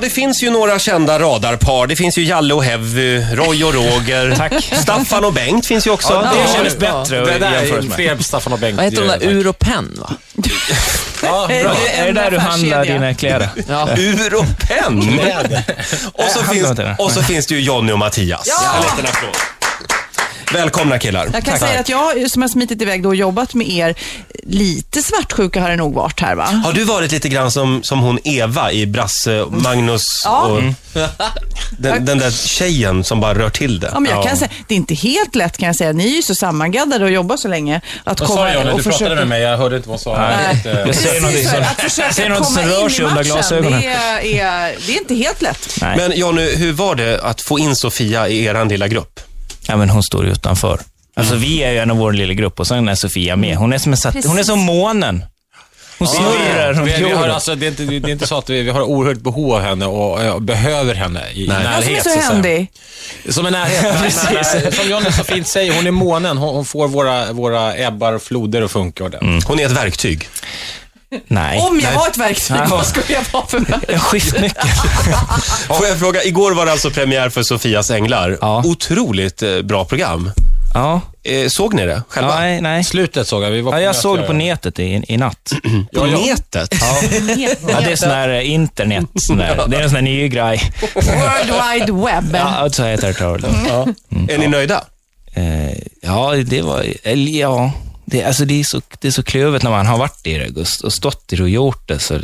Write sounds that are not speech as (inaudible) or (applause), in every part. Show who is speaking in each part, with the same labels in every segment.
Speaker 1: det finns ju några kända radarpar. Det finns ju Jalle och Heavy, Roy och Roger.
Speaker 2: (laughs) Tack.
Speaker 1: Staffan och Bengt finns ju också.
Speaker 2: Ja,
Speaker 3: Ja.
Speaker 2: det kändes bättre
Speaker 3: Det där är
Speaker 2: jämfört med.
Speaker 3: fler Staffan och Bengt.
Speaker 4: Vad heter de där?
Speaker 3: det är-
Speaker 4: Ur och penn, va?
Speaker 3: Ja,
Speaker 2: Är
Speaker 3: bra.
Speaker 2: det- Är det där du handlar dina kläder?
Speaker 4: Ja.
Speaker 1: (laughs) Ur och
Speaker 3: (laughs)
Speaker 1: penn. och, så
Speaker 2: handlar
Speaker 1: finns,
Speaker 2: inte det.
Speaker 1: och så finns det ju Jonny och Mattias.
Speaker 5: Ja!
Speaker 1: En liten applåd. Välkomna killar.
Speaker 5: Jag kan säga att jag som har smitit iväg då och jobbat med er, lite svartsjuka har det nog varit här va?
Speaker 1: Har du varit lite grann som, som hon Eva i Brasse, Magnus
Speaker 5: Ja. Mm.
Speaker 1: och (laughs) den, den där tjejen som bara rör till det?
Speaker 5: Ja, men jag kan säga, det är inte helt lätt kan jag säga. Ni är ju så sammangaddade och jobbar så länge. Att
Speaker 3: Vad
Speaker 5: komma
Speaker 3: sa Johnny?
Speaker 5: och
Speaker 3: Du pratade med mig. Jag hörde inte vad hon sa.
Speaker 2: Nej.
Speaker 3: Jag vet
Speaker 2: Jag
Speaker 3: inte.
Speaker 2: säger någonting som-
Speaker 5: att försöka
Speaker 2: säger något som
Speaker 5: komma
Speaker 2: rör
Speaker 5: in
Speaker 2: sig
Speaker 5: i
Speaker 2: under
Speaker 5: matchen,
Speaker 2: glasögonen.
Speaker 5: Det är, är, det är inte helt lätt.
Speaker 2: Nej.
Speaker 1: Men Jonny, hur var det att få in Sofia i eran lilla grupp?
Speaker 2: Ja, men hon står ju utanför. Alltså
Speaker 3: Mm.
Speaker 2: vi är ju en av vår lilla grupp och sen är Sofia med. Hon är som, en sat- hon är som månen. Hon snurrar runt
Speaker 3: Vi, vi har,
Speaker 2: jorden.
Speaker 3: alltså, det, är inte, det är inte så att vi, vi har oerhört behov av henne och eh, behöver henne i Nej.
Speaker 5: Jag
Speaker 3: närhet.
Speaker 5: som är
Speaker 3: så
Speaker 5: så
Speaker 3: att säga.
Speaker 5: händig.
Speaker 3: Som en
Speaker 2: (laughs)
Speaker 3: närhet. Men, men, eh, som Johnny så fint säger, hon är månen. Hon, hon får våra, våra ebbar och floder att funka ordentligt.
Speaker 2: Mm.
Speaker 1: Hon är ett verktyg.
Speaker 2: Nej.
Speaker 5: Om jag var ett verktyg,
Speaker 2: Nej.
Speaker 5: vad skulle jag vara för (laughs) verktyg?
Speaker 2: En skiftnyckel.
Speaker 1: Får jag fråga, igår var det alltså premiär för Sofias änglar.
Speaker 2: Ja.
Speaker 1: Otroligt eh, bra program.
Speaker 2: Ja.
Speaker 1: Eh, såg ni det själva?
Speaker 2: Nej, nej.
Speaker 3: Slutet såg jag. Vi var på
Speaker 2: Ja, jag
Speaker 3: möte.
Speaker 2: såg det på nätet i, i natt.
Speaker 1: På
Speaker 3: Ja, ja.
Speaker 1: nätet?
Speaker 2: Ja, det är sån här eh, internet. Sån där. Det är en sån här ny grej.
Speaker 5: World Wide Web.
Speaker 2: Ja, så heter det tror jag.
Speaker 1: Mm.
Speaker 2: Mm.
Speaker 1: Är ni nöjda?
Speaker 2: Eh, ja, det var... Eller ja. Det, alltså det, är så, det är så klövet när man har varit i det och, st- och stått i det och gjort det. Så, eh,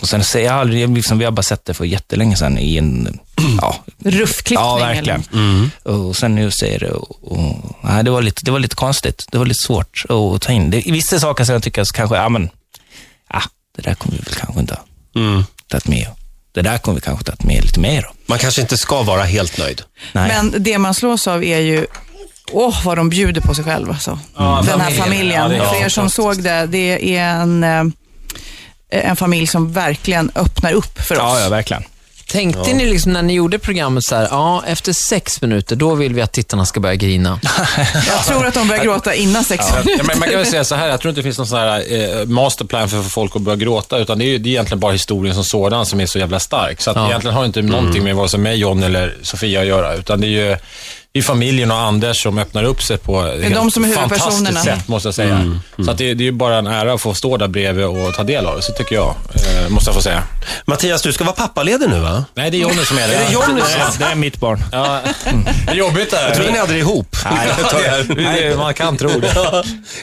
Speaker 2: och sen säger jag aldrig, liksom, vi har bara sett det för jättelänge sedan i en... (clears throat) Ja,
Speaker 5: Ruffklippning.
Speaker 2: ja
Speaker 5: eller-
Speaker 2: verkligen.
Speaker 1: Mm.
Speaker 2: Och sen nu säger det, och, och, nej, det, var lite, det var lite konstigt. Det var lite svårt att ta in. Det, vissa saker som jag tycker så kanske, ja men, ja, det där kommer vi väl kanske inte ha tagit med. Det där kommer vi kanske tagit med lite mer då.
Speaker 1: Mm. Man kanske inte ska vara helt nöjd.
Speaker 2: Nej.
Speaker 5: Men det man slås av är ju Åh, vad de bjuder på sig själva. Alltså. Den här
Speaker 3: familjen.
Speaker 5: familjen.
Speaker 3: Ja, det är
Speaker 5: För er som såg det, det är en, eh, en familj som verkligen öppnar upp för oss.
Speaker 2: ja, ja, verkligen.
Speaker 4: Tänkte ni liksom när ni gjorde programmet så här, ja, efter sex minuter, då vill vi att tittarna ska börja grina.
Speaker 5: Jag tror att de börjar gråta innan sex.
Speaker 3: Ja, men man kan väl säga så här, jag tror inte det finns någon sån här eh, masterplan för att få folk att börja gråta, utan det är, ju, det är egentligen bara historien som sådan som är så jävla stark. Så att egentligen har det inte någonting med vare sig mig, John eller Sofia att göra, utan det är ju det är familjen och Anders som öppnar upp sig på ett
Speaker 5: de som är huvudpersonerna.
Speaker 3: fantastiskt sätt, måste jag säga. Så att det, det är ju bara en ära att få stå där bredvid och ta del av det, så tycker jag, eh, måste jag få säga.
Speaker 1: Mattias, du ska vara pappaledig nu va?
Speaker 3: Nej, det är Johnny som är det.
Speaker 1: Är det Johnny som-
Speaker 2: Det är mitt barn.
Speaker 3: Ja. Det är jobbigt det
Speaker 1: Jag trodde
Speaker 3: (laughs)
Speaker 1: ni
Speaker 3: här.
Speaker 1: hade det ihop. (laughs)
Speaker 3: Nej, man kan tro det.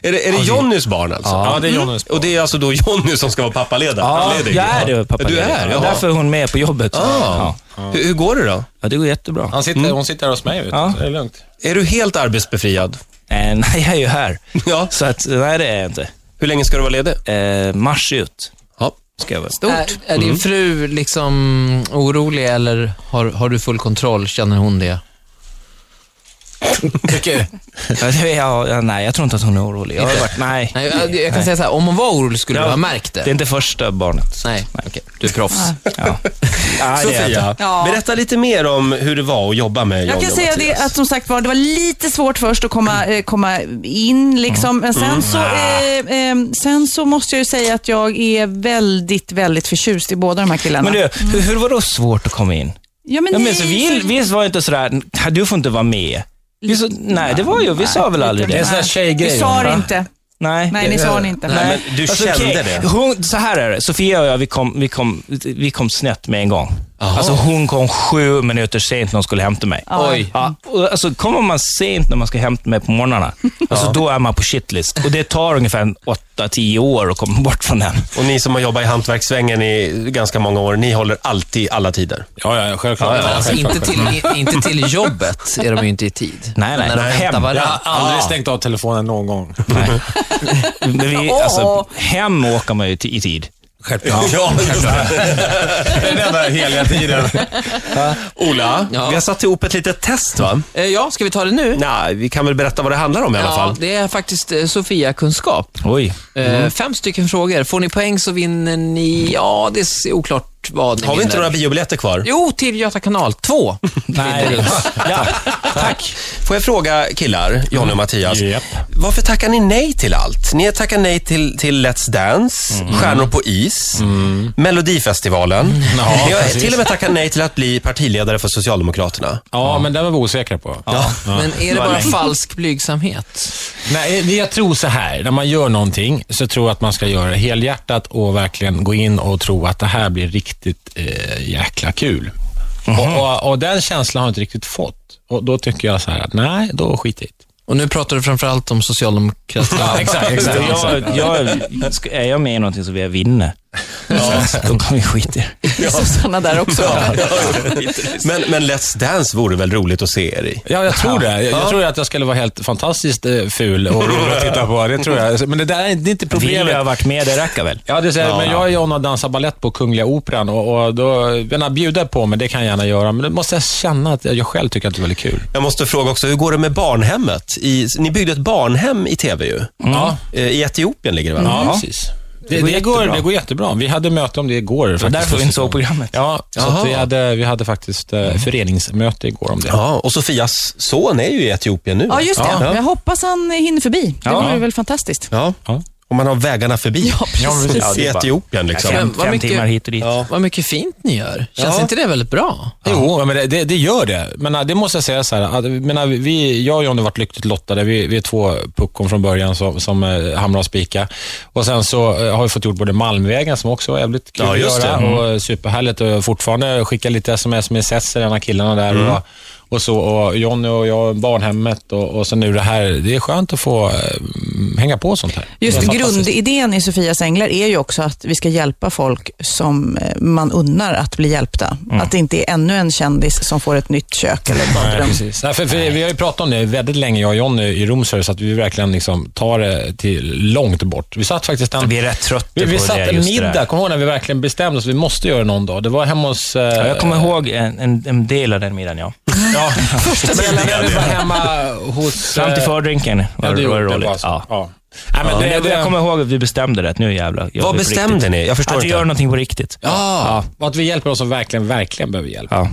Speaker 1: är det, är det Jonnys barn alltså?
Speaker 3: Ja, det är Johnnys
Speaker 1: Och det är alltså då Jonny som ska vara pappaledig?
Speaker 2: Ja,
Speaker 1: ledig?
Speaker 2: jag är det, pappa.
Speaker 1: Du är?
Speaker 2: ja.
Speaker 1: Jaha.
Speaker 2: Därför är hon med på jobbet.
Speaker 1: Ah.
Speaker 2: Ja.
Speaker 1: Hur, hur går det då?
Speaker 2: ja, det går jättebra.
Speaker 3: Han sitter, Hon sitter här hos mig, vet du,
Speaker 2: Ja.
Speaker 3: så det är lugnt.
Speaker 1: Är du helt arbetsbefriad? (laughs)
Speaker 2: Eh, (laughs) nej, jag är ju här.
Speaker 1: Ja.
Speaker 2: Så att, nej, det är jag inte.
Speaker 1: Hur länge ska du vara ledig?
Speaker 2: Eh, mars ut,
Speaker 1: Ja.
Speaker 2: ska jag väl.
Speaker 4: Är, är din fru liksom orolig eller har, har du full kontroll? Känner hon det?
Speaker 3: Tycker,
Speaker 2: Ja, det- ja, ja, nej, jag tror inte att hon är orolig. Jag har varit, nej.
Speaker 4: Nej, jag, jag kan säga så här, om hon var orolig skulle
Speaker 2: Ja,
Speaker 4: du ha märkt det.
Speaker 2: Det är inte första barnet.
Speaker 4: Nej, okej. Du är proffs.
Speaker 2: Ja. Ja, det är jag.
Speaker 1: Sofia,
Speaker 5: Ja.
Speaker 1: berätta lite mer om hur det var att jobba med
Speaker 5: Jag
Speaker 1: Johnny
Speaker 5: kan
Speaker 1: och
Speaker 5: säga det
Speaker 1: Mattias.
Speaker 5: att som sagt var, det var lite svårt först att komma, eh, komma in liksom. Men sen så, eh, eh, sen så måste jag ju säga att jag är väldigt, väldigt förtjust i båda de här killarna.
Speaker 2: Men du, hur, hur var det svårt att komma in?
Speaker 5: ja, men
Speaker 2: Ja,
Speaker 5: ni-
Speaker 2: men så vi, vi var inte sådär, "Nej, du får inte vara med. Vi så, nej, det var ju, vi sa väl aldrig
Speaker 3: det är en
Speaker 2: det.
Speaker 3: sån här tjejgrej.
Speaker 5: Vi sa det
Speaker 3: va?
Speaker 5: inte.
Speaker 2: Nej.
Speaker 5: Nej, ni sa det inte.
Speaker 1: Nej, men du
Speaker 2: Alltså,
Speaker 1: kände
Speaker 2: okej.
Speaker 1: det.
Speaker 2: Hon, så här är det, Sofia och jag, vi kom, vi kom, vi kom snett med en gång. Alltså hon kom sju minuter sent när hon skulle hämta mig.
Speaker 4: Oj.
Speaker 2: Ja, och alltså kommer man sent när man ska hämta mig på morgnarna, alltså då är man på shitlist. Och det tar ungefär en 8-10 år att komma bort
Speaker 1: (laughs)
Speaker 2: från den.
Speaker 1: Och ni som har jobbat i hantverkssvängen i ganska många år, ni håller alltid alla tider.
Speaker 3: Ja, ja, självklart.
Speaker 1: Ja, ja,
Speaker 4: Alltså, inte, till, i- inte till jobbet är de ju inte i tid.
Speaker 2: Nej, nej.
Speaker 4: När de
Speaker 2: Nej.
Speaker 4: hämtar
Speaker 2: Hem.
Speaker 3: Jag
Speaker 4: varandra.
Speaker 3: har aldrig stängt av telefonen någon gång.
Speaker 2: Men vi,
Speaker 5: Åh.
Speaker 2: alltså, hem åker man ju ti- i tid.
Speaker 3: Självklart.
Speaker 1: Ja, just det.
Speaker 3: Det är den där heliga tiden.
Speaker 1: Ola,
Speaker 4: Ja.
Speaker 1: vi har satt ihop ett litet test va?
Speaker 4: Eh, Ja, ska vi ta det nu?
Speaker 1: Nej, vi kan väl berätta vad det handlar om i alla
Speaker 4: Ja,
Speaker 1: fall.
Speaker 4: det är faktiskt eh, Sofia-kunskap.
Speaker 2: Oj.
Speaker 1: Mm.
Speaker 4: Eh, Fem stycken frågor. Får ni poäng så vinner ni... Ja, det är oklart sportbadning.
Speaker 1: Har vi inte
Speaker 4: vinner.
Speaker 1: några biobiljetter kvar?
Speaker 4: Jo, till Göta
Speaker 1: (laughs)
Speaker 4: kanal. Två.
Speaker 2: Nej. (laughs) ja. Tack.
Speaker 1: Får jag fråga killar, Johnny och Mattias.
Speaker 3: Japp.
Speaker 1: Varför tackar ni nej till allt? Ni tackar nej till, till Let's Dance, Stjärnor på is, Melodifestivalen.
Speaker 3: Ja,
Speaker 1: ni har
Speaker 3: precis.
Speaker 1: till och med tackat nej till att bli partiledare för Socialdemokraterna.
Speaker 3: Ja, men den var vi osäkra på.
Speaker 4: (laughs) Men är det bara falsk blygsamhet?
Speaker 3: Nej, det- jag tror så här. När man gör någonting så tror jag att man ska göra det helhjärtat och verkligen gå in och tro att det här blir riktigt eh, jäkla kul. Mhm. Och, och, och den känslan har jag inte riktigt fått. Och då tycker jag så här att nej, då skit i det.
Speaker 4: Och nu pratar du framförallt om socialdemokratin.
Speaker 3: exakt, exakt.
Speaker 2: Jag, jag, ska- är jag med i någonting så vill jag vinna. Så (laughs) Då kommer vi skita i
Speaker 5: (laughs)
Speaker 2: det.
Speaker 5: Susanna där också.
Speaker 1: (laughs) Men, men Let's Dance vore väl roligt att se er i?
Speaker 3: Ja, jag tror det. Jag, jag tror att jag skulle vara helt fantastiskt eh, ful och rolig att titta på. Det tror jag. Men det där är, det är inte
Speaker 2: Vill
Speaker 3: problemet.
Speaker 2: jag ha varit med, det räcker väl?
Speaker 3: Ja, det säger, men jag är ju om att dansa ballett på Kungliga Operan och, och då, menar, bjuda på mig, det kan jag gärna göra, men då måste jag känna att jag själv tycker att det är väldigt kul.
Speaker 1: Jag måste fråga också, hur går det med barnhemmet? I, ni byggde ett barnhem i tv ju.
Speaker 3: Ja,
Speaker 1: Eh, I Etiopien ligger det väl?
Speaker 3: ja precis. Det, det, går
Speaker 1: jättebra.
Speaker 3: det går jättebra. Vi hade möte om det igår.
Speaker 2: Det var
Speaker 3: faktiskt.
Speaker 2: därför vi inte såg programmet.
Speaker 3: Ja, så
Speaker 1: Jaha.
Speaker 3: att vi, hade, vi hade faktiskt eh, föreningsmöte igår om det.
Speaker 1: Ja, och Sofias son är ju i Etiopien nu.
Speaker 5: Ja, just det.
Speaker 1: Ja.
Speaker 5: Jag hoppas han hinner förbi. Det
Speaker 2: Ja.
Speaker 5: vore väl fantastiskt.
Speaker 1: Ja.
Speaker 3: Ja.
Speaker 1: Och man har vägarna förbi.
Speaker 2: Ja, det
Speaker 1: I
Speaker 2: är bara-
Speaker 1: Etiopien liksom.
Speaker 4: Ja,
Speaker 2: Fem,
Speaker 4: vad
Speaker 2: fem
Speaker 4: mycket-
Speaker 2: timmar hit och dit.
Speaker 1: Ja.
Speaker 4: Vad mycket fint ni gör. Känns
Speaker 1: Ja.
Speaker 4: inte det väldigt bra?
Speaker 3: Jo, men det- det, det gör det. Men äh, det måste jag säga så här. Att, men, äh, vi, jag och Johnny har varit lyckligt lottade. Vi, vi är två puckon från början som, som äh, hamnar och spika. Och sen så eh, har vi fått gjort både Malmvägen, som också var jävligt kul
Speaker 1: Ja, just
Speaker 3: att
Speaker 1: det. Mm.
Speaker 3: göra, och eh, superhärligt. Och jag fortfarande skickar lite sms med Sess, en av killarna där.
Speaker 1: Mm.
Speaker 3: Och, och så, och Johnny och jag, barnhemmet och, och så nu det här. Det är skönt att få eh, hänga på sånt här.
Speaker 5: Just
Speaker 3: Det är fantastiskt.
Speaker 5: grundidén i Sofias änglar är ju också att vi ska hjälpa folk som eh, man unnar att bli hjälpta. Att det inte är ännu en kändis som får ett nytt kök eller
Speaker 3: Nej,
Speaker 5: badrum.
Speaker 3: precis. Nej, för, för vi har ju pratat om det väldigt länge, jag och Jonny i Romsör, så att vi verkligen liksom tar det till långt bort. Vi satt faktiskt en,
Speaker 2: Vi är rätt trötta
Speaker 3: vi, vi
Speaker 2: på
Speaker 3: satt
Speaker 2: det.
Speaker 3: en
Speaker 2: just det där.
Speaker 3: middag, kommer du ihåg när vi verkligen bestämde oss, vi måste göra det någon dag. Det var hemma hos... eh,
Speaker 2: Ja, jag kommer ihåg en, en, en del av den middagen, ja.
Speaker 3: Ja, men när vi var hemma hos...
Speaker 2: (laughs) Fram till
Speaker 3: eh,
Speaker 2: fördrinken
Speaker 3: ja,
Speaker 2: var,
Speaker 3: du
Speaker 2: var
Speaker 3: gjorde
Speaker 2: det roligt.
Speaker 3: bara så.
Speaker 2: Ja.
Speaker 3: Ja. Nej, men
Speaker 2: Men
Speaker 3: det-
Speaker 2: jag,
Speaker 3: det-
Speaker 2: jag kommer ihåg att vi bestämde det. att Nu jävlar. gör
Speaker 1: Vad
Speaker 2: vi på
Speaker 1: bestämde
Speaker 2: riktigt.
Speaker 1: ni? Jag förstår
Speaker 2: Att vi
Speaker 1: inte.
Speaker 2: gör någonting på riktigt.
Speaker 3: Ja, och att vi hjälper de som verkligen, verkligen behöver hjälp.
Speaker 2: Ja.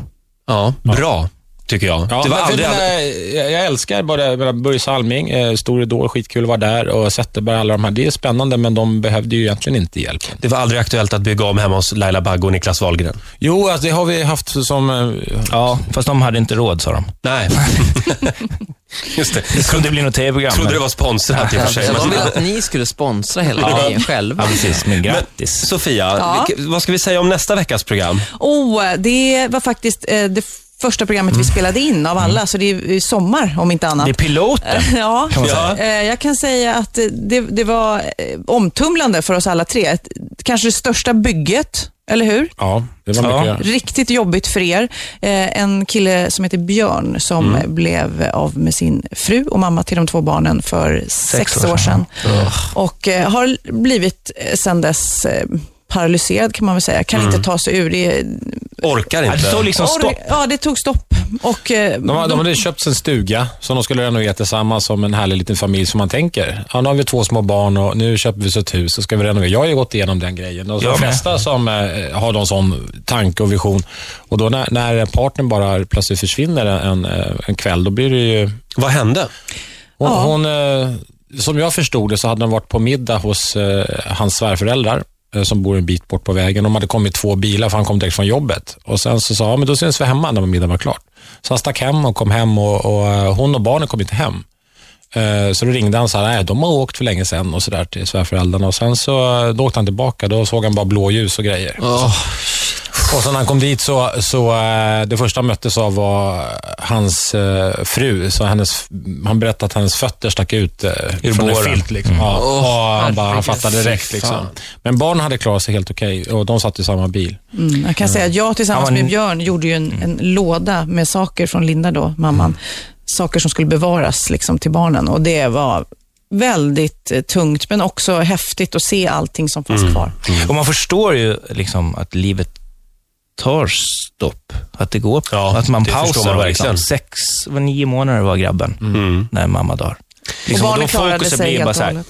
Speaker 1: Ja, bra, tycker jag.
Speaker 3: Ja,
Speaker 1: det var
Speaker 3: men för
Speaker 1: aldrig...
Speaker 3: jag menar, jag, jag älskar både menar, Börje Salming, eh, stor idol, skitkul att vara där, och Zetterberg, alla de här. Det är spännande, men de behövde ju egentligen inte hjälp.
Speaker 1: Det var aldrig aktuellt att bygga om hemma hos Laila Bagge och Niklas Wahlgren.
Speaker 3: Jo, alltså, det har vi haft som... eh,
Speaker 2: ja, fast de hade inte råd, sa de.
Speaker 1: Nej. Just det.
Speaker 2: Det kunde bli något tv-program.
Speaker 1: Trodde det
Speaker 2: men-
Speaker 1: var sponsrat i och för sig.
Speaker 4: Så de
Speaker 1: men-
Speaker 4: vill att ni skulle sponsra hela grejen själva.
Speaker 2: Ja, precis. Men grattis.
Speaker 1: Sofia,
Speaker 5: Ja.
Speaker 1: vilka- vad ska vi säga om nästa veckas program?
Speaker 5: Oh, det var faktiskt eh, det första programmet vi spelade in av alla, så det är eh, sommar om inte annat.
Speaker 2: det är piloten.
Speaker 5: (laughs) Ja,
Speaker 2: man
Speaker 1: säga.
Speaker 5: Eh, jag kan säga att eh, det, det var eh, omtumlande för oss alla tre. Ett- Kanske det största bygget, eller hur?
Speaker 3: Ja, det var mycket
Speaker 2: Ja.
Speaker 3: att göra.
Speaker 5: Riktigt jobbigt för er. Eh, en kille som heter Björn som eh, blev av med sin fru och mamma till de två barnen för sex,
Speaker 2: år
Speaker 5: år sedan. Och eh, har blivit eh, sedan dess eh, paralyserad kan man väl säga. Kan inte ta sig ur. Det,
Speaker 1: Orkar
Speaker 2: Ja, det
Speaker 1: inte.
Speaker 2: står liksom stopp.
Speaker 5: Ja, det tog stopp. Och, eh,
Speaker 3: De, har- de hade köpt en stuga som de skulle renovera tillsammans som en härlig liten familj som man tänker. Ja, nu har vi två små barn och nu köper vi så ett hus och ska vi renovera. Jag har ju gått igenom den grejen. Och de
Speaker 2: Jag med.
Speaker 3: flesta som eh, har någon sån tanke och vision. Och då när, när partnern bara plötsligt försvinner en, eh, en kväll, då blir det ju...
Speaker 1: Vad hände?
Speaker 3: Hon,
Speaker 5: Ja.
Speaker 3: hon, eh, som jag förstod det så hade de varit på middag hos eh, hans svärföräldrar eh, som bor en bit bort på vägen. De hade kommit två bilar för han kom direkt från jobbet. Och Sen så sa han, men då syns vi hemma när middagen var klart. Så han stack hem och kom hem och, och eh, hon och barnen kom inte hem. Eh, Så då ringde han och sa, nej de har åkt för länge sedan och så där till svärföräldrarna. Och sen så eh, då åkte han tillbaka, då såg han bara blåljus och grejer.
Speaker 4: Åh,
Speaker 3: Och sen när han kom dit så, så eh, det första han möttes av var hans eh, fru. Så hennes, han berättade att hennes fötter stack ut eh, från en
Speaker 2: båren.
Speaker 3: filt. Liksom. Ja, och han, bara, han
Speaker 4: Mm. herregud.
Speaker 3: fattade direkt.
Speaker 4: Fy
Speaker 3: Liksom.
Speaker 4: fan.
Speaker 3: Men barnen hade klarat sig helt okej och de satt i samma bil.
Speaker 5: Mm, jag kan säga att jag tillsammans
Speaker 2: Ja, men- Mm.
Speaker 5: med Björn gjorde ju en, en låda med saker från Linda då, mamman. Saker som skulle bevaras liksom till barnen och det var väldigt eh, tungt men också häftigt att se allting som fanns
Speaker 2: Mm.
Speaker 5: kvar.
Speaker 2: Och man förstår ju liksom att livet tar stopp. Att det går.
Speaker 1: Ja,
Speaker 2: att man
Speaker 1: det förstår
Speaker 2: pausar.
Speaker 1: man
Speaker 2: och
Speaker 1: verkligen.
Speaker 2: liksom, sex, var nio månader var grabben
Speaker 1: Mm.
Speaker 2: när mamma dör. Liksom,
Speaker 5: barnen
Speaker 2: då
Speaker 5: klarade
Speaker 2: fokuset
Speaker 5: sig helt
Speaker 2: blir bara
Speaker 5: och
Speaker 2: så här,
Speaker 5: hållet.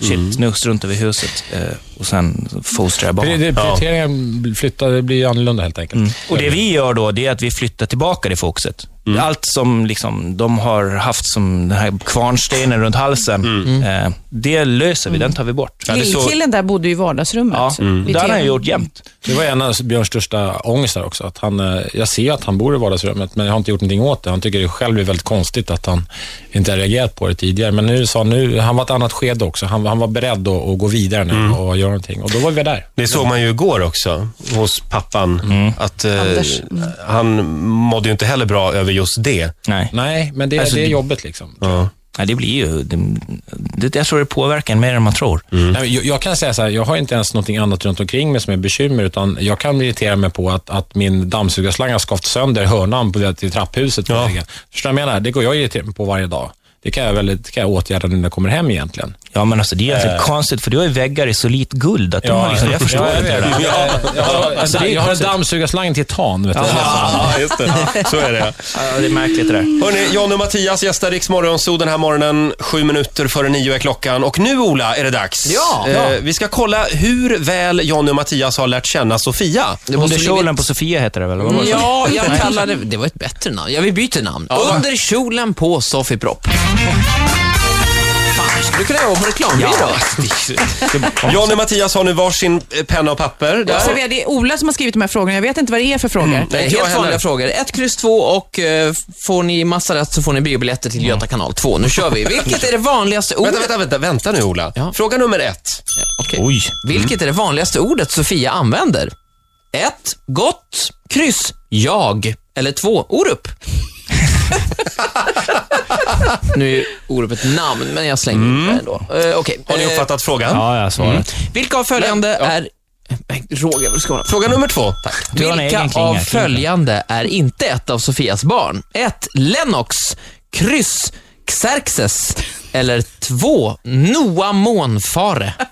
Speaker 2: Shit, nu strunt över huset. Eh, och sen fostrar jag barn. Mm.
Speaker 3: Pri- det- Prioriteringen flyttar, det blir annorlunda helt
Speaker 4: Mm.
Speaker 3: enkelt.
Speaker 2: Och det vi gör då, det är att vi flyttar tillbaka det fokuset. Allt som liksom, de har haft som den här kvarnstenen runt halsen, eh, det löser vi,
Speaker 5: Mm.
Speaker 2: den tar vi bort.
Speaker 1: det är så-
Speaker 5: Lillkillen där bodde ju i vardagsrummet.
Speaker 2: Ja,
Speaker 5: vid
Speaker 2: Det har han
Speaker 5: tvn.
Speaker 2: gjort jämt.
Speaker 3: Det var en av Björns största ångestar också. Att han, eh, jag ser ju att han bor i vardagsrummet, men jag har inte gjort någonting åt det. Han tycker det själv är väldigt konstigt att han inte har reagerat på det tidigare. Men nu sa han, nu, han var ett annat skede också. Han, han var beredd att, att gå vidare nu och göra någonting. Och då var vi där.
Speaker 1: Det såg man ju igår också hos pappan. Att, eh,
Speaker 5: Anders,
Speaker 1: Han mådde ju inte heller bra över just det.
Speaker 2: Nej.
Speaker 3: Nej, men det, det är jobbet liksom.
Speaker 2: Nej, det blir ju... Det, det, jag tror det påverkar en mer än man tror.
Speaker 3: Nej, men Jag, jag kan säga så här, jag har inte ens något annat runt omkring mig som är bekymmer, utan jag kan irritera mig på att, att min dammsugarslang har skavt sönder hörnan på det till trapphuset. Ja. Förstår du vad jag menar? Det går jag irritera mig på varje dag. Det kan jag, väl, det kan jag åtgärda nu när jag kommer hem egentligen.
Speaker 2: Ja, men alltså det är egentligen konstigt, för du har ju väggar i solitt guld. Att de har liksom, jag förstår
Speaker 3: ja,
Speaker 2: inte det
Speaker 3: vet.
Speaker 2: där.
Speaker 3: Ja, ja, alltså, det är- jag har en dammsugarslang till tan. Vet du.
Speaker 1: Ja, just det. Så är det.
Speaker 2: Ja, det är märkligt det där.
Speaker 1: Hörni, John och Mattias gästar Rix Morgonzoo den här morgonen. Sju minuter före nio är klockan. Och nu, Ola, är det dags.
Speaker 4: Ja.
Speaker 1: Eh, vi ska kolla hur väl John och Mattias har lärt känna Sofia.
Speaker 2: Under
Speaker 4: bli
Speaker 2: kjolen på Sofia heter det väl? Vad var det?
Speaker 4: Ja, jag kallar det... Det var ett bättre namn. Ja, vi byter namn. Under kjolen på Sofie Propp. Fan, vi skulle kunna jobba på reklambyrå.
Speaker 1: John och Mattias har nu varsin eh, penna och papper. Där.
Speaker 5: Sofia, det är Ola som har skrivit de här frågorna. Jag vet inte vad det är för frågor.
Speaker 2: Mm.
Speaker 1: Nej, jag
Speaker 4: Helt
Speaker 1: heller.
Speaker 4: vanliga frågor. Ett, kryss två och eh, får ni massa rätt så får ni biobiljetter till Göta kanal 2. Nu kör vi. Vilket är det vanligaste ordet?
Speaker 1: Vänta, vänta, vänta, vänta nu, Ola.
Speaker 4: Ja.
Speaker 1: Fråga nummer ett.
Speaker 4: Okej.
Speaker 2: Oj.
Speaker 1: Mm.
Speaker 4: Vilket är det vanligaste ordet Sofia använder? 1. Gott. Kryss. Jag. Eller 2.
Speaker 1: (laughs)
Speaker 4: Orup. nu är ju Orup ett namn, men jag slänger ut det ändå. Eh, Okej.
Speaker 1: Mm. Har ni
Speaker 4: Eh,
Speaker 1: uppfattat frågan?
Speaker 2: Ja, jag har
Speaker 4: Mm.
Speaker 2: svarat.
Speaker 4: vilka av följande är... Nej, Roger, vad ska man...
Speaker 1: Fråga nummer två.
Speaker 2: Du har en
Speaker 4: Vilka
Speaker 2: egen klinga,
Speaker 4: av
Speaker 2: klinga.
Speaker 4: följande är inte ett av Sofias barn? 1. Lennox. Kryss. Xerxes. Eller 2. Noa månfare. (laughs)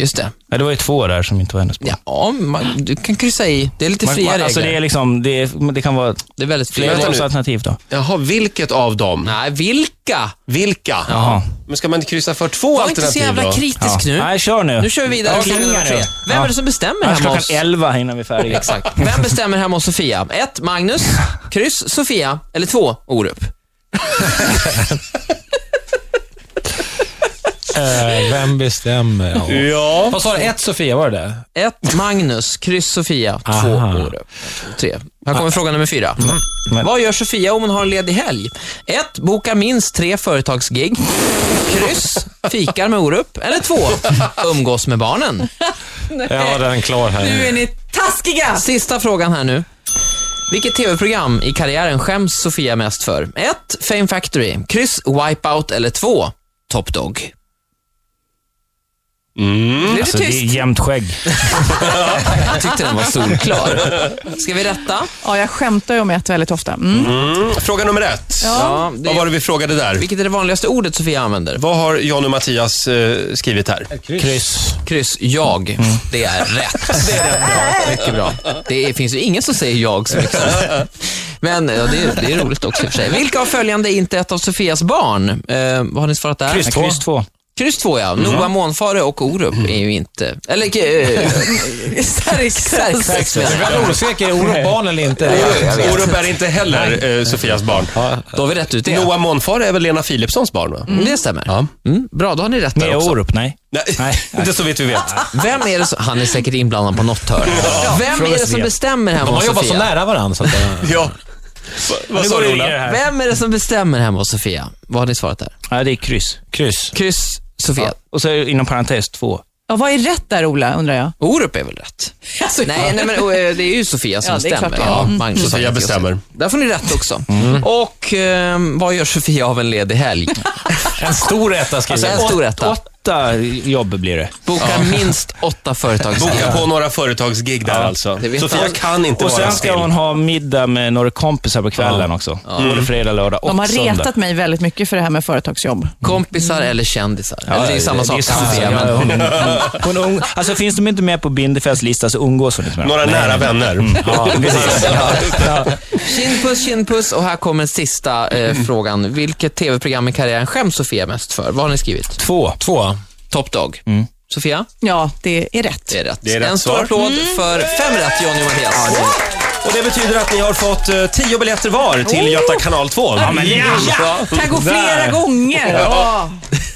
Speaker 4: Just det.
Speaker 2: Ja, det var ju två där som inte var hennes barn.
Speaker 4: Ja, man, du kan kryssa i. Det är lite fria regler.
Speaker 2: alltså det är
Speaker 4: det, är...
Speaker 2: liksom, det, är, men det kan vara
Speaker 4: väldigt fria
Speaker 2: flera
Speaker 1: Vänta nu.
Speaker 2: alternativ då.
Speaker 1: Jaha, vilket av dem?
Speaker 4: Nej, vilka?
Speaker 1: Vilka?
Speaker 2: Jaha.
Speaker 1: Men ska man inte kryssa för två
Speaker 4: Var inte
Speaker 1: alternativ
Speaker 4: så jävla
Speaker 1: då?
Speaker 4: kritisk
Speaker 2: Ja.
Speaker 4: nu.
Speaker 2: Nej, kör nu.
Speaker 4: Nu kör vi vidare. till nummer tre. Vem är det som bestämmer
Speaker 2: Annars
Speaker 4: hemma
Speaker 2: klockan
Speaker 4: hos...
Speaker 2: 11 hinner vi färdiga.
Speaker 4: Exakt. Vem bestämmer hemma hos Sofia? 1. Magnus. Kryss Sofia. Eller 2. Orup.
Speaker 3: Eh, Vem bestämmer? Ja.
Speaker 1: Ja.
Speaker 3: Vad sa du? Ett Sofia, var det det
Speaker 4: 1. Magnus. Kryss Sofia. 2.
Speaker 3: Aha.
Speaker 4: Orup. 3. Här kommer fråga nummer 4.
Speaker 2: Men-
Speaker 4: Vad gör Sofia om hon har en ledig helg? 1. Bokar minst tre företagsgig. Kryss. Fikar med Orup. Eller 2. Umgås med barnen.
Speaker 3: Jag har den klar
Speaker 5: Nu
Speaker 3: här.
Speaker 5: är ni taskiga!
Speaker 4: Sista frågan här nu. Vilket tv-program i karriären skäms Sofia mest för? 1. Fame Factory, kryss Wipeout eller 2. Top Dog.
Speaker 5: Blev du
Speaker 2: Alltså, det är
Speaker 5: tyst?
Speaker 2: jämnt skägg.
Speaker 4: Jag tyckte den var solklar. Ska vi rätta?
Speaker 5: Ja, jag skämtar ju om ett väldigt ofta. Mm. (laughs)
Speaker 1: Fråga nummer ett.
Speaker 4: Ja,
Speaker 1: Vad
Speaker 4: det,
Speaker 1: var det vi frågade där?
Speaker 4: vilket är det vanligaste ordet Sofia använder?
Speaker 1: Vad har John och Mattias eh, skrivit här?
Speaker 3: Kryss.
Speaker 4: Kryss jag. Det är rätt. Mm. (laughs) Det är bra. Mycket bra. Det är, finns ju ingen som säger jag så mycket. som- Men ja, det, är, det är roligt också i och för sig. Vilka av följande är inte ett av Sofias barn? Eh, vad har ni svarat där?
Speaker 2: Ja, Kryss två.
Speaker 4: Kryss två ja. Noa Månfare och Orup är ju inte... Eller... (laughs) eh, Xerxes menar jag.
Speaker 3: Väldigt osäker, är Olof barn eller inte?
Speaker 4: vet.
Speaker 1: Orup är inte heller eh, Sofias barn.
Speaker 4: Då har vi rätt ut det.
Speaker 1: Noah Monfar är väl Lena Philipssons barn? Va?
Speaker 4: Mm, Det stämmer.
Speaker 1: Ja.
Speaker 4: Mm, bra, då har ni rätt där
Speaker 2: Med
Speaker 4: också.
Speaker 2: Orup, nej.
Speaker 1: Nej,
Speaker 2: Nej.
Speaker 1: (laughs) inte så vitt vi vet.
Speaker 4: Vem är det som... Han är säkert inblandad på något hörn. Vem är det som
Speaker 2: Sofia.
Speaker 4: bestämmer hemma
Speaker 3: De har
Speaker 4: hos
Speaker 3: jobbat så
Speaker 4: Sofia?
Speaker 3: nära varandra. Så att, eh,
Speaker 1: Ja. Va, vad
Speaker 2: Nu
Speaker 1: sa
Speaker 2: går det
Speaker 1: du,
Speaker 2: vidare
Speaker 1: Ola?
Speaker 2: här.
Speaker 4: Vem är det som bestämmer hemma hos Sofia? Vad har ni svarat där?
Speaker 2: Ja, det är kryss.
Speaker 3: kryss.
Speaker 4: Kryss Sofia.
Speaker 2: Och så inom parentes två.
Speaker 5: Ja, vad är rätt där, Ola, undrar jag?
Speaker 4: Orup är väl rätt?
Speaker 5: Alltså,
Speaker 4: Nej, nej men eh, det är ju Sofia som
Speaker 5: Ja, det är
Speaker 4: bestämmer.
Speaker 5: klart det är.
Speaker 4: Ja,
Speaker 5: Mm.
Speaker 4: Magnus har
Speaker 1: Sofia
Speaker 4: rätt i att säga.
Speaker 1: bestämmer. Mm.
Speaker 4: Där får ni rätt också. Och eh, vad gör Sofia av en ledig helg?
Speaker 3: En stor etta skriver
Speaker 4: Alltså en stor etta.
Speaker 2: Åtta jobb blir det.
Speaker 4: Bokar minst åtta företagsgig.
Speaker 1: Boka på några företagsgig där alltså.
Speaker 4: det vet
Speaker 1: Sofia
Speaker 4: jag.
Speaker 1: kan inte
Speaker 2: Och
Speaker 1: vara
Speaker 2: sen ska
Speaker 1: still.
Speaker 2: hon ha middag med några kompisar på kvällen också. Både fredag, lördag och
Speaker 5: De har
Speaker 2: söndag.
Speaker 5: retat mig väldigt mycket för det här med företagsjobb.
Speaker 4: Kompisar eller kändisar.
Speaker 2: Ja,
Speaker 4: eller det är ju samma sak.
Speaker 2: samma
Speaker 4: Sofia,
Speaker 2: sak.
Speaker 4: men-
Speaker 2: Ja, hon- hon- hon- hon- Alltså finns de inte med på Bindefelds lista så umgås hon inte med dem.
Speaker 1: Några nära vänner.
Speaker 2: Ja,
Speaker 1: (laughs)
Speaker 2: precis. Ja.
Speaker 4: Kindpuss, kindpuss och här kommer Mm. sista eh, frågan. Vilket tv-program i karriären skäms Sofia mest för? Vad har ni skrivit?
Speaker 2: Två.
Speaker 3: Två.
Speaker 4: Top Dog. Sofia,
Speaker 5: Ja, det är rätt.
Speaker 4: det är rätt. Mm.
Speaker 1: Det är rätt
Speaker 4: en stor
Speaker 1: svar.
Speaker 4: applåd för fem rätt, Johnny och Mattias.
Speaker 1: Och det betyder att ni har fått eh, tio biljetter var till
Speaker 5: Oh!
Speaker 1: Göta kanal 2.
Speaker 2: men,
Speaker 4: Bra.
Speaker 5: Kan gå flera
Speaker 2: Där.
Speaker 5: gånger. Ja.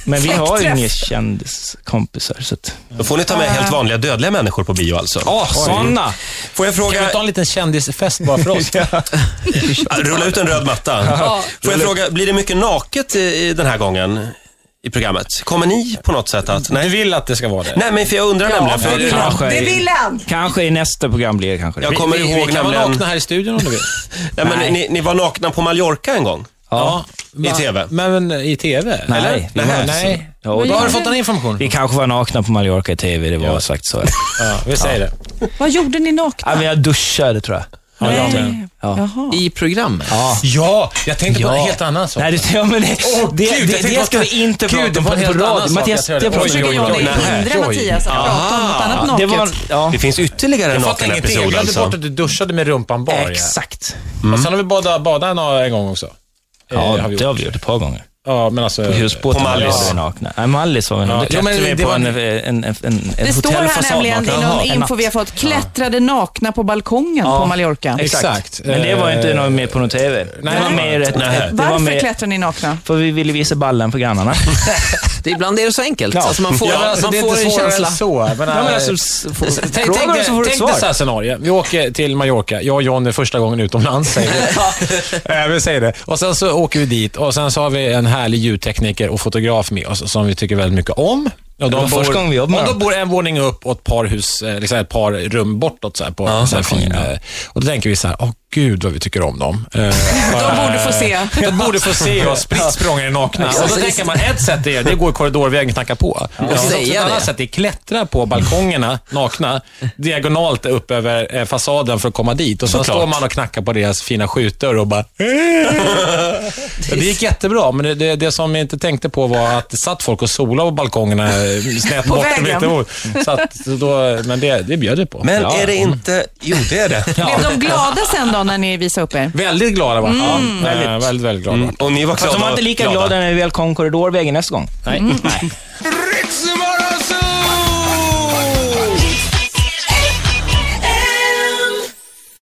Speaker 2: men vi har ju
Speaker 5: Släktträff.
Speaker 2: inga kändiskompisar. Så att,
Speaker 1: Då får ni ta med helt vanliga dödliga människor på bio alltså.
Speaker 3: Ja, sådana.
Speaker 1: Får jag
Speaker 3: Kan
Speaker 1: fråga,
Speaker 3: vi ta en liten kändisfest bara för (laughs) oss?
Speaker 1: Ah, rulla ut en röd matta. Får jag fråga, blir det mycket naket i, i den här gången i programmet? Kommer ni på något sätt att...
Speaker 3: Du vill att det ska vara det?
Speaker 1: Nej, men för jag undrar nämligen.
Speaker 2: det
Speaker 1: För
Speaker 2: vill jag. Kanske
Speaker 5: Det
Speaker 2: i-
Speaker 5: vill han.
Speaker 2: Kanske i nästa program blir det kanske det.
Speaker 1: jag kommer
Speaker 3: vi,
Speaker 1: ihåg
Speaker 3: vi kan vara
Speaker 1: nämligen...
Speaker 3: nakna här i studion om du vill.
Speaker 1: Nej, men
Speaker 2: Nej.
Speaker 1: ni, ni var nakna på Mallorca en gång.
Speaker 2: Ja.
Speaker 1: I
Speaker 3: Va?
Speaker 1: TV.
Speaker 3: Men, men i TV?
Speaker 2: Nej,
Speaker 3: eller?
Speaker 2: det
Speaker 1: var-
Speaker 3: Nej. Nej.
Speaker 2: Ja, och
Speaker 3: Då har
Speaker 2: då-
Speaker 3: du fått den informationen.
Speaker 2: vi kanske var nakna på Mallorca i TV, det var sagt så.
Speaker 3: Ja, vi säger det.
Speaker 5: Vad gjorde ni
Speaker 2: ja,
Speaker 5: nakna?
Speaker 2: men jag duschade tror jag.
Speaker 3: Ja, jag med.
Speaker 5: Nej. Jaha.
Speaker 4: I programmet.
Speaker 3: Ja, jag tänkte på
Speaker 2: Ja.
Speaker 3: en helt annan sak.
Speaker 2: Nej, det, ja, men det, det,
Speaker 3: jag
Speaker 2: det,
Speaker 3: tänkte
Speaker 2: det ska
Speaker 3: på-
Speaker 2: vi inte
Speaker 3: Gud,
Speaker 2: prata
Speaker 3: det
Speaker 2: om
Speaker 3: var en
Speaker 2: på
Speaker 3: helt annan
Speaker 2: radio.
Speaker 3: sak
Speaker 2: Mattias,
Speaker 3: jag
Speaker 2: det
Speaker 3: tror jag-
Speaker 2: pratar
Speaker 5: Försöker
Speaker 2: vi
Speaker 3: Oj,
Speaker 2: om.
Speaker 5: Johnny
Speaker 3: oj, oj.
Speaker 5: hindra Mattias att prata om något annat
Speaker 2: Det
Speaker 5: naket?
Speaker 2: var, ja,
Speaker 1: Det finns ytterligare en
Speaker 3: Jag fattar
Speaker 1: naken
Speaker 3: ingenting. Jag
Speaker 1: episod
Speaker 3: glömde
Speaker 1: alltså.
Speaker 3: bort att du duschade med rumpan bar.
Speaker 2: exakt.
Speaker 3: Ja. Och sen har vi badat, badat en, en gång också. Eh,
Speaker 2: Ja,
Speaker 3: har vi
Speaker 2: det
Speaker 3: gjort.
Speaker 2: har vi gjort ett par gånger.
Speaker 3: Ja, men alltså...
Speaker 2: På husbåten
Speaker 1: På
Speaker 2: var vi
Speaker 1: Mallis.
Speaker 2: aldrig nakna. Nej, Mallis var vi
Speaker 3: Ja,
Speaker 2: nakna. Då
Speaker 3: jo, men
Speaker 2: klättrade
Speaker 3: det
Speaker 2: vi på
Speaker 3: var-
Speaker 2: en, en, en, en, en
Speaker 5: Det står här
Speaker 2: hotellfasad
Speaker 5: nämligen i
Speaker 2: nakna.
Speaker 5: någon
Speaker 2: Jaha, en
Speaker 5: info vi har
Speaker 2: natt.
Speaker 5: fått. Klättrade nakna på balkongen på Mallorca.
Speaker 3: Exakt. Eh,
Speaker 2: Men det var inte något med på någon TV. det var
Speaker 3: nej.
Speaker 2: mer ett...
Speaker 1: Nej.
Speaker 2: Det var
Speaker 5: Varför
Speaker 2: mer,
Speaker 5: klättrar ni nakna?
Speaker 2: för vi ville visa ballen
Speaker 3: (laughs)
Speaker 2: för grannarna.
Speaker 4: Det, ibland är det så enkelt.
Speaker 2: Ja.
Speaker 4: Alltså man får,
Speaker 3: Ja, men alltså,
Speaker 4: man
Speaker 3: det är
Speaker 4: får
Speaker 3: inte
Speaker 4: en
Speaker 3: svårare än
Speaker 4: känsla.
Speaker 3: så. Men,
Speaker 2: Ja, men
Speaker 3: eh,
Speaker 2: alltså, s-
Speaker 4: (laughs)
Speaker 2: får- (laughs)
Speaker 3: s- tänk-
Speaker 2: frågar
Speaker 3: tänk
Speaker 2: du så får du
Speaker 3: dig-
Speaker 2: svar.
Speaker 3: Tänk dig så här scenario. Vi åker till Mallorca. Jag och John är första gången utomlands,
Speaker 2: (laughs)
Speaker 3: säger vi. Eh, vi säger det. Och sen så åker vi dit och sen så har vi en härlig ljudtekniker och fotograf med oss som vi tycker väldigt mycket om. Och
Speaker 2: Det var första gången vi jobbade
Speaker 3: och
Speaker 2: med
Speaker 3: de
Speaker 2: dem.
Speaker 3: bor en våning upp och ett par, hus, eh, liksom ett par rum bortåt. Så här, på, så här, fin, eh, och då tänker vi så här, åh gud vad vi tycker om dem.
Speaker 2: (laughs)
Speaker 3: Eh,
Speaker 5: De borde få se.
Speaker 3: de borde få se oss spritt språngande nakna. Och då tänker man, ett sätt är det går korridorvägen och knacka på. Ja. Och
Speaker 4: säga
Speaker 3: ett
Speaker 4: det.
Speaker 3: annat sätt är klättra på balkongerna nakna, diagonalt upp över eh, fasaden för att komma dit. Och så står man och knackar på deras fina skjutdörr och bara... "Äh!" det gick jättebra, men det, det, det som jag inte tänkte på var att det satt folk och solade på balkongerna eh, snett
Speaker 5: På
Speaker 3: bort.
Speaker 5: vägen.
Speaker 3: mittemot. Så att, så då, men det, det bjöd det på.
Speaker 1: Men
Speaker 3: Ja.
Speaker 1: är det inte... Jo, det är det.
Speaker 5: (laughs) Blev de glada sen då när ni visade upp er?
Speaker 3: Väldigt glada va? Ja, väldigt, väldigt, väldigt glada.
Speaker 1: Mm. Och ni var
Speaker 2: Fast de var
Speaker 1: glada-
Speaker 2: inte lika glada när vi väl kom korridorvägen nästa gång. Nej. Nej.